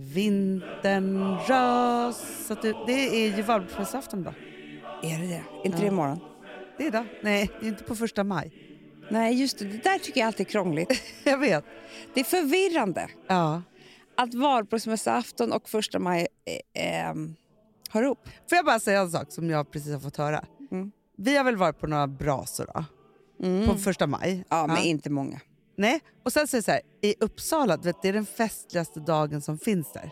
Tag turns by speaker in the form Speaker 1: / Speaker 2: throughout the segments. Speaker 1: Vintern rasat ut. Det är ju valborgsmässoafton idag.
Speaker 2: Är det det? Är inte
Speaker 1: Ja.
Speaker 2: det imorgon?
Speaker 1: Det är idag. Nej, det är inte på första maj.
Speaker 2: Nej, just det. Det där tycker jag alltid är krångligt.
Speaker 1: Jag vet.
Speaker 2: Det är förvirrande
Speaker 1: Ja.
Speaker 2: att valborgsmässoafton och första maj eh, ehm, hör ihop.
Speaker 1: Får jag bara säga en sak som jag precis har fått höra?
Speaker 2: Mm.
Speaker 1: Vi har väl varit på några brasor då,
Speaker 2: Mm.
Speaker 1: på första maj?
Speaker 2: Ja, men inte många.
Speaker 1: Nej, och sen så är det så här, i Uppsala, du vet, det är den festligaste dagen som finns där.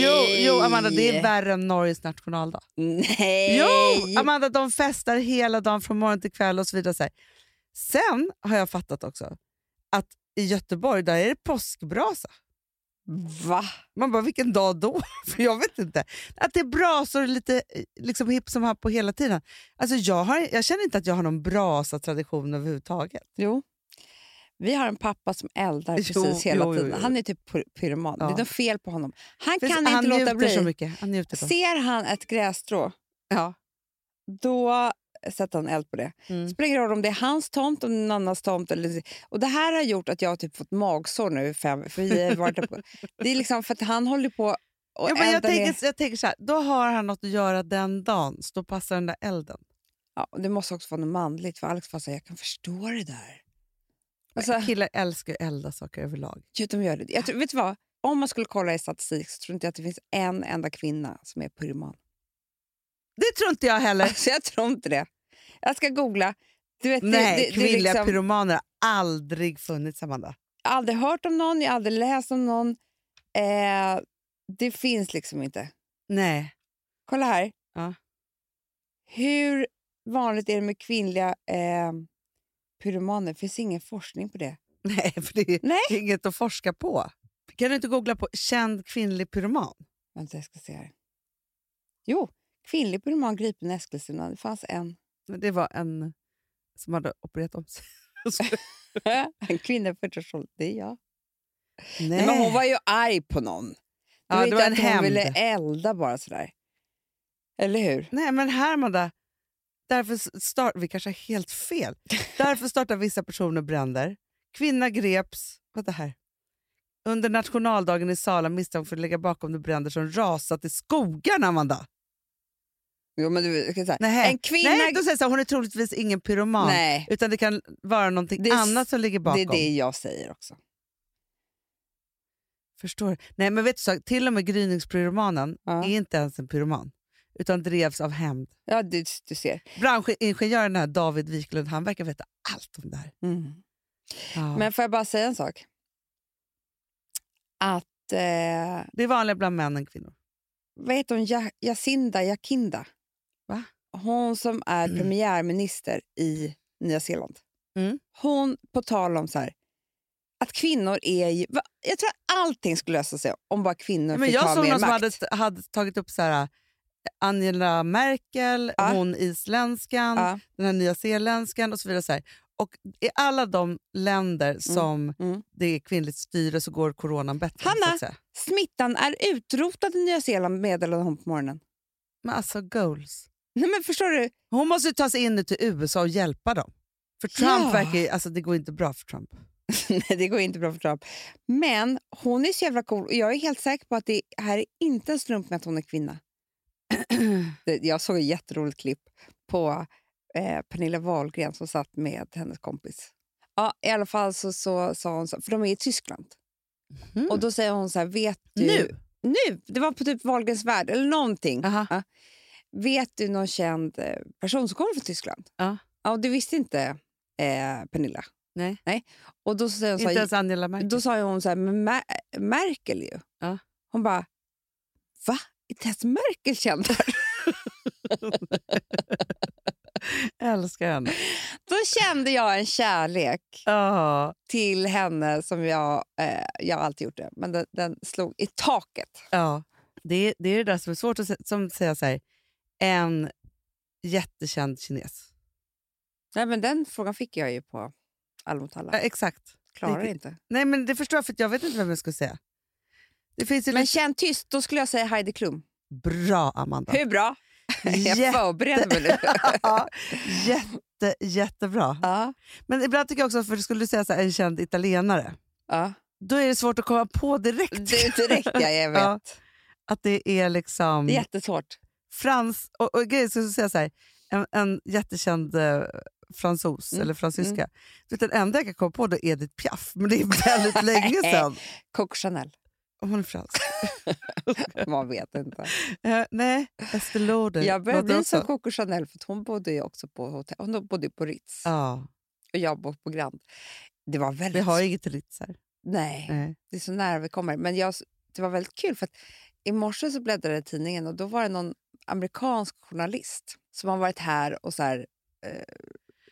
Speaker 1: Jo, jo Amanda, det är värre än Norges nationaldag.
Speaker 2: Nej!
Speaker 1: Jo, Amanda, de festar hela dagen från morgon till kväll och så vidare. Så här. Sen har jag fattat också att i Göteborg, där är det påskbrasa.
Speaker 2: Va?
Speaker 1: Man bara, vilken dag då? För jag vet inte. Att det är brasor lite eh, liksom hipp som här på hela tiden. Alltså jag, har, jag känner inte att jag har någon brasa-tradition överhuvudtaget.
Speaker 2: Jo. Vi har en pappa som eldar
Speaker 1: Jo,
Speaker 2: precis hela
Speaker 1: jo, jo,
Speaker 2: tiden.
Speaker 1: jo.
Speaker 2: Han är typ pyr- pyroman.
Speaker 1: Ja.
Speaker 2: Det är något fel på honom. Han
Speaker 1: Finns-
Speaker 2: kan
Speaker 1: han
Speaker 2: inte låta
Speaker 1: njuter så
Speaker 2: bli.
Speaker 1: mycket. Han njuter Typ så.
Speaker 2: Ser han ett grässtrå,
Speaker 1: Ja.
Speaker 2: då sätter han eld på det.
Speaker 1: Mm.
Speaker 2: spelar ingen roll om det är hans tomt, om det är någon annans tomt. Eller, och det här har gjort att jag har typ fått magsår nu. i Fem, för vi har varit uppe. Det är liksom för att han håller på och
Speaker 1: Ja, men jag,
Speaker 2: eldar ner.
Speaker 1: tänker, jag tänker så här, då har han något att göra den dagen, så då passar den där elden.
Speaker 2: Ja, och det måste också vara något manligt, för Alex bara så här, jag kan förstå det där. Alltså,
Speaker 1: Killar älskar ju elda saker överlag.
Speaker 2: ja, de gör det. Jag tror, vet du vad? Om man skulle kolla i statistik så tror inte jag att det finns en enda kvinna som är pyroman.
Speaker 1: Det tror inte jag heller.
Speaker 2: Alltså, jag tror inte det. Jag ska googla. Du vet,
Speaker 1: Nej,
Speaker 2: det, det, det, är
Speaker 1: kvinnliga
Speaker 2: liksom,
Speaker 1: pyromaner har aldrig funnits, Amanda.
Speaker 2: Jag har aldrig hört om någon, jag har aldrig läst om någon. Eh, det finns liksom inte.
Speaker 1: Nej.
Speaker 2: Kolla här.
Speaker 1: Ja.
Speaker 2: Hur vanligt är det med kvinnliga eh, pyromaner? Det finns ingen forskning på det.
Speaker 1: Nej, för det är
Speaker 2: Nej.
Speaker 1: inget att forska på. Kan du inte googla på känd kvinnlig pyroman?
Speaker 2: Vänta, jag ska se här. Jo, kvinnlig pyroman gripen i Eskilstuna. Det fanns en.
Speaker 1: Men Det var en som hade opererat om sig.
Speaker 2: en kvinna i 40-årsåldern. Det är jag. Eh.
Speaker 1: Nej.
Speaker 2: Nej. Men hon var ju arg på någon. Det
Speaker 1: Ja,
Speaker 2: var
Speaker 1: det
Speaker 2: inte
Speaker 1: var en
Speaker 2: att hon
Speaker 1: hämnd.
Speaker 2: ville elda bara sådär. Eller hur?
Speaker 1: Nej, men här Amanda, därför s- start... vi kanske har helt fel. Därför startar vissa personer bränder. Kvinna greps, vad det här? Under nationaldagen i Sala misstänkt för att lägga bakom de bränder som rasat i skogarna, Amanda.
Speaker 2: Jo, men du, jag kan säga.
Speaker 1: Nej.
Speaker 2: En kvinna...
Speaker 1: Nej, då säger jag så här, hon är troligtvis ingen pyroman.
Speaker 2: Nej,
Speaker 1: Utan det kan vara någonting
Speaker 2: Det är s-
Speaker 1: annat som ligger
Speaker 2: det
Speaker 1: bakom.
Speaker 2: är det jag säger också.
Speaker 1: Förstår. Nej, men vet du, så, till och med gryningspyromanen
Speaker 2: Ja.
Speaker 1: är inte ens en pyroman, utan drevs av hämnd.
Speaker 2: Ja, du, du ser.
Speaker 1: Branschingenjören här, David Wiklund, han verkar veta allt om det här.
Speaker 2: Mm.
Speaker 1: Ja.
Speaker 2: Men får jag bara säga en sak? Att, eh,
Speaker 1: Det är vanligare bland män än kvinnor.
Speaker 2: vad heter hon, ja- Jacinda Jakinda?
Speaker 1: Va?
Speaker 2: Hon som är
Speaker 1: Mm.
Speaker 2: premiärminister i Nya Zeeland.
Speaker 1: Mm.
Speaker 2: Hon, på tal om så här, att kvinnor är ju... va- Jag tror att allting skulle lösa sig om bara kvinnor
Speaker 1: Men
Speaker 2: fick
Speaker 1: jag
Speaker 2: ha
Speaker 1: såg
Speaker 2: mer
Speaker 1: någon
Speaker 2: makt.
Speaker 1: som hade, hade tagit upp så här, eh, Angela Merkel,
Speaker 2: Ja.
Speaker 1: hon isländskan,
Speaker 2: Ja.
Speaker 1: den här nya zeeländskan och så vidare. Så här. Och I alla de länder som
Speaker 2: mm.
Speaker 1: det är kvinnligt styre så går coronan bättre. så
Speaker 2: Hanna!
Speaker 1: att säga.
Speaker 2: Smittan är utrotad i Nya Zeeland, meddelade hon på morgonen.
Speaker 1: Men alltså goals.
Speaker 2: Nej, men förstår du?
Speaker 1: Hon måste ju ta sig in nu till USA och hjälpa dem. För Trump
Speaker 2: Ja.
Speaker 1: verkar ju- alltså det går inte bra för Trump.
Speaker 2: Nej, det går inte bra för Trump. Men hon är så jävla cool och jag är helt säker på att det här är inte en slump med att hon är kvinna. Det- jag såg ett jätteroligt klipp på eh, Pernilla Wahlgren som satt med hennes kompis. Ja, I alla fall så, så sa hon, så, för de är i Tyskland,
Speaker 1: Mm.
Speaker 2: och då säger hon så här, vet du...
Speaker 1: Nu?
Speaker 2: Mhm. Nu! Det var på typ Wahlgrens värld eller någonting.
Speaker 1: Aha.
Speaker 2: Ja. Vet du någon känd eh, person som kommer från Tyskland?
Speaker 1: Ja.
Speaker 2: Ja, och det visste inte eh, Pernilla.
Speaker 1: Nej.
Speaker 2: Nej. Och då säger hon så
Speaker 1: Inte
Speaker 2: här,
Speaker 1: ens Angela Merkel.
Speaker 2: Alltså, då sa ju hon så här, men Mer- Merkel ju.
Speaker 1: Ja.
Speaker 2: Hon bara, va? Är inte ens Merkel känd?
Speaker 1: Jag älskar henne.
Speaker 2: Då kände jag en kärlek
Speaker 1: Ja,
Speaker 2: till henne som jag, eh, jag har alltid gjort det, men den, den slog i taket.
Speaker 1: ja. Det, är- det är det där som är svårt att sä- som säga så här, en jättekänd kines.
Speaker 2: Nej, men den frågan fick jag ju på Alla mot alla.
Speaker 1: Ja, exakt.
Speaker 2: Klarar
Speaker 1: Eh, det-
Speaker 2: inte.
Speaker 1: Nej men det förstår jag för att jag vet inte vem jag ska säga. Det finns ju
Speaker 2: Men
Speaker 1: lite...
Speaker 2: känn tyst, då skulle jag säga Heidi Klum.
Speaker 1: Bra Amanda.
Speaker 2: Hur bra? Jag
Speaker 1: Jätte-
Speaker 2: förbereder mig nu.
Speaker 1: Ja, jätte, jättebra.
Speaker 2: ja,
Speaker 1: Men ibland tycker jag också, för skulle du säga så här, en känd italienare,
Speaker 2: ja.
Speaker 1: Då är det svårt att komma på direkt
Speaker 2: Det är direkt, ja, jag vet.
Speaker 1: Ja. att det är liksom...
Speaker 2: Det är jättesvårt.
Speaker 1: Frans, och, och grejen ska jag säga så här, en, en jättekänd eh, fransos
Speaker 2: Mm,
Speaker 1: eller fransyska. Du vet, den enda jag kan komma på då är Edith Piaf, men det är väldigt länge sedan.
Speaker 2: Coco Chanel,
Speaker 1: Och Hon är frans.
Speaker 2: man vet inte.
Speaker 1: Eh, nej, Estée Lauder.
Speaker 2: Jag började
Speaker 1: låter
Speaker 2: bli som
Speaker 1: också-
Speaker 2: Coco Chanel för att hon bodde ju också på hotell. Hon bodde ju på Ritz
Speaker 1: Ja,
Speaker 2: och jag bodde på Grand. Det var
Speaker 1: vi
Speaker 2: väldigt...
Speaker 1: har Eh. inget Ritz här.
Speaker 2: Nej,
Speaker 1: Nej.
Speaker 2: det är så nära vi kommer. Men jag, det var väldigt kul för att i morse så bläddrade jag i tidningen och då var det någon amerikansk journalist som har varit här och så här, eh,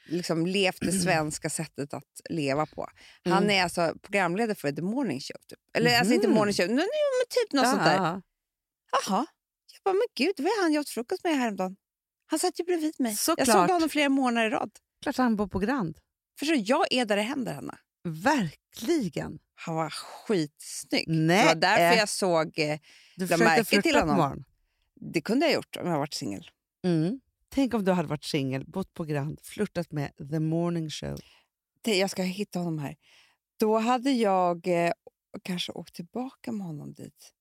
Speaker 2: liksom levt det svenska sättet att leva på. Han
Speaker 1: Mm.
Speaker 2: är alltså programledare för The Morning Show. Typ. Eller alltså inte
Speaker 1: Mhm.
Speaker 2: Morning Show, men, men typ något sånt där. Jaha. Jag bara, men gud, vad har han jag åt frukost med häromdagen? Han satt ju bredvid mig. Jag såg
Speaker 1: Såklart.
Speaker 2: honom flera månader i rad.
Speaker 1: Klart han bor på Grand.
Speaker 2: Förstår du, jag är där det händer, Hanna.
Speaker 1: Verkligen.
Speaker 2: Han var skitsnygg.
Speaker 1: Nej,
Speaker 2: det var därför
Speaker 1: eh,
Speaker 2: jag såg... Eh,
Speaker 1: du
Speaker 2: la
Speaker 1: försökte
Speaker 2: märke till
Speaker 1: flirta på
Speaker 2: honom.
Speaker 1: morgonen.
Speaker 2: det kunde jag ha gjort om jag varit singel.
Speaker 1: Mm. Tänk om du hade varit singel, bott på Grand, flörtat med The Morning Show.
Speaker 2: Det- Jag ska hitta honom här. Då hade jag eh, kanske åkt tillbaka med honom dit.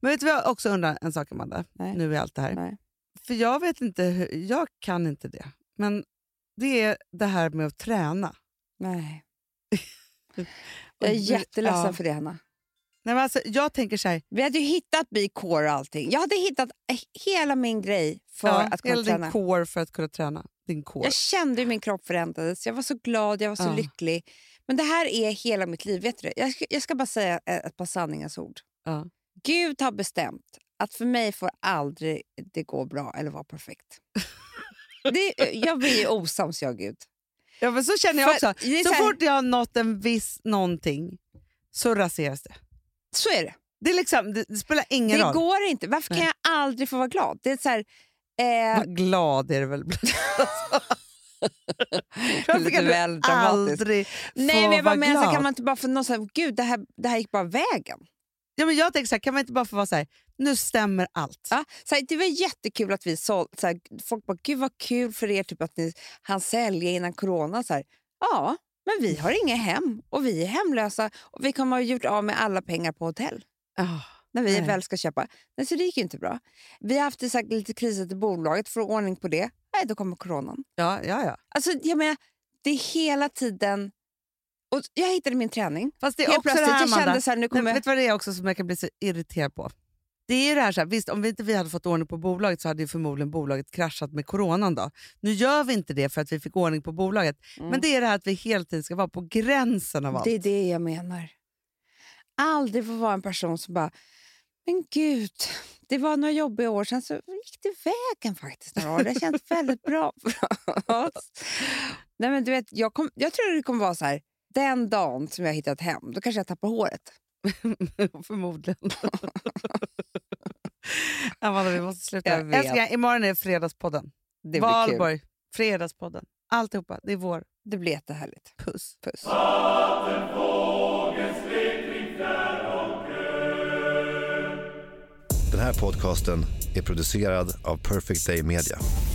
Speaker 1: Men vet du vad jag också undrar en sak Amanda?
Speaker 2: Nej.
Speaker 1: Nu är allt det här.
Speaker 2: Nej.
Speaker 1: För jag vet inte, hur, jag kan inte det. Men det är det här med att träna.
Speaker 2: Nej.
Speaker 1: Och
Speaker 2: Jag är
Speaker 1: du-
Speaker 2: jätteledsen
Speaker 1: ja.
Speaker 2: för det, Hanna.
Speaker 1: Nej, men alltså, jag tänker så här,
Speaker 2: Vi hade ju hittat bikår och allting. Jag hade hittat eh, hela min grej för
Speaker 1: ja,
Speaker 2: att kunna
Speaker 1: hela
Speaker 2: träna.
Speaker 1: din core för att kunna träna. Din core.
Speaker 2: Jag kände hur min kropp förändrades. Jag var så glad, jag var så
Speaker 1: Ja.
Speaker 2: lycklig. Men det här är hela mitt liv. Vet du det? jag, ska, jag ska bara säga ett, ett par sanningens ord.
Speaker 1: Ja.
Speaker 2: Gud har bestämt att för mig får aldrig det gå bra eller vara perfekt. Det, jag blir ju osams, jag Gud.
Speaker 1: Ja, men så känner jag
Speaker 2: För-
Speaker 1: också.
Speaker 2: det är
Speaker 1: Så
Speaker 2: så här-
Speaker 1: fort jag har nått en viss någonting så raseras det.
Speaker 2: Så är det.
Speaker 1: Det, är liksom, det, det spelar ingen
Speaker 2: Det
Speaker 1: roll.
Speaker 2: går inte. Varför kan
Speaker 1: Nej.
Speaker 2: jag aldrig få vara glad? Det är så här, eh,
Speaker 1: Vad glad är det väl? Varför
Speaker 2: lite
Speaker 1: kan du
Speaker 2: väl dramatiskt.
Speaker 1: aldrig
Speaker 2: Nej, men
Speaker 1: få vara
Speaker 2: jag bara menar, så här,
Speaker 1: glad?
Speaker 2: kan man inte bara få någon så här, gud det här, det här gick bara vägen.
Speaker 1: Ja, men jag tänker så här, kan man inte bara få vara så här, nu stämmer allt.
Speaker 2: Ja, så här, det var jättekul att vi sålde. Så här, folk bara, gud vad kul för er typ, att ni hann sälja innan corona. Så här, ja, men vi har inga hem och vi är hemlösa och vi kommer ha gjort av med alla pengar på hotell
Speaker 1: Ah,
Speaker 2: när vi
Speaker 1: Nej.
Speaker 2: väl ska köpa. Nej, så det gick ju inte bra. Vi har haft så här, lite kriser till bolaget för att få ordning på det. Nej, då kommer coronan.
Speaker 1: Ja, ja, ja.
Speaker 2: Alltså, jag menar, det är hela tiden... Och jag hittade min träning.
Speaker 1: Fast det är
Speaker 2: Helt
Speaker 1: också det
Speaker 2: plötsligt
Speaker 1: här,
Speaker 2: jag
Speaker 1: Amanda,
Speaker 2: kände så här, nu
Speaker 1: Nej,
Speaker 2: kommer...
Speaker 1: Vet du vad det är också som jag kan bli så irriterad på? Det är ju det här, så här visst om vi inte vi hade fått ordning på bolaget så hade ju förmodligen bolaget kraschat med coronan då. Nu gör vi inte det för att vi fick ordning på bolaget. Men
Speaker 2: Mm.
Speaker 1: det är det här att vi hela tiden ska vara på gränsen av allt.
Speaker 2: Det är det jag menar. Aldrig få vara en person som bara, men gud, det var några jobbiga år sedan så gick det vägen faktiskt några år. Det har känts väldigt bra för oss. Nej, men du vet, jag, kom, jag tror det kommer vara så här, den dagen som jag har hittat hem, då kanske jag tappar håret.
Speaker 1: Förmodligen. Amanda, vi måste sluta.
Speaker 2: Jag vet.
Speaker 1: Älskling, imorgon är Fredagspodden.
Speaker 2: Det blir kul.
Speaker 1: Valborg, Fredagspodden. Alltihopa, det är vår
Speaker 2: Det blir jättehärligt.
Speaker 1: puss.
Speaker 2: Puss.
Speaker 3: Den här podcasten är producerad av Perfect Day Media.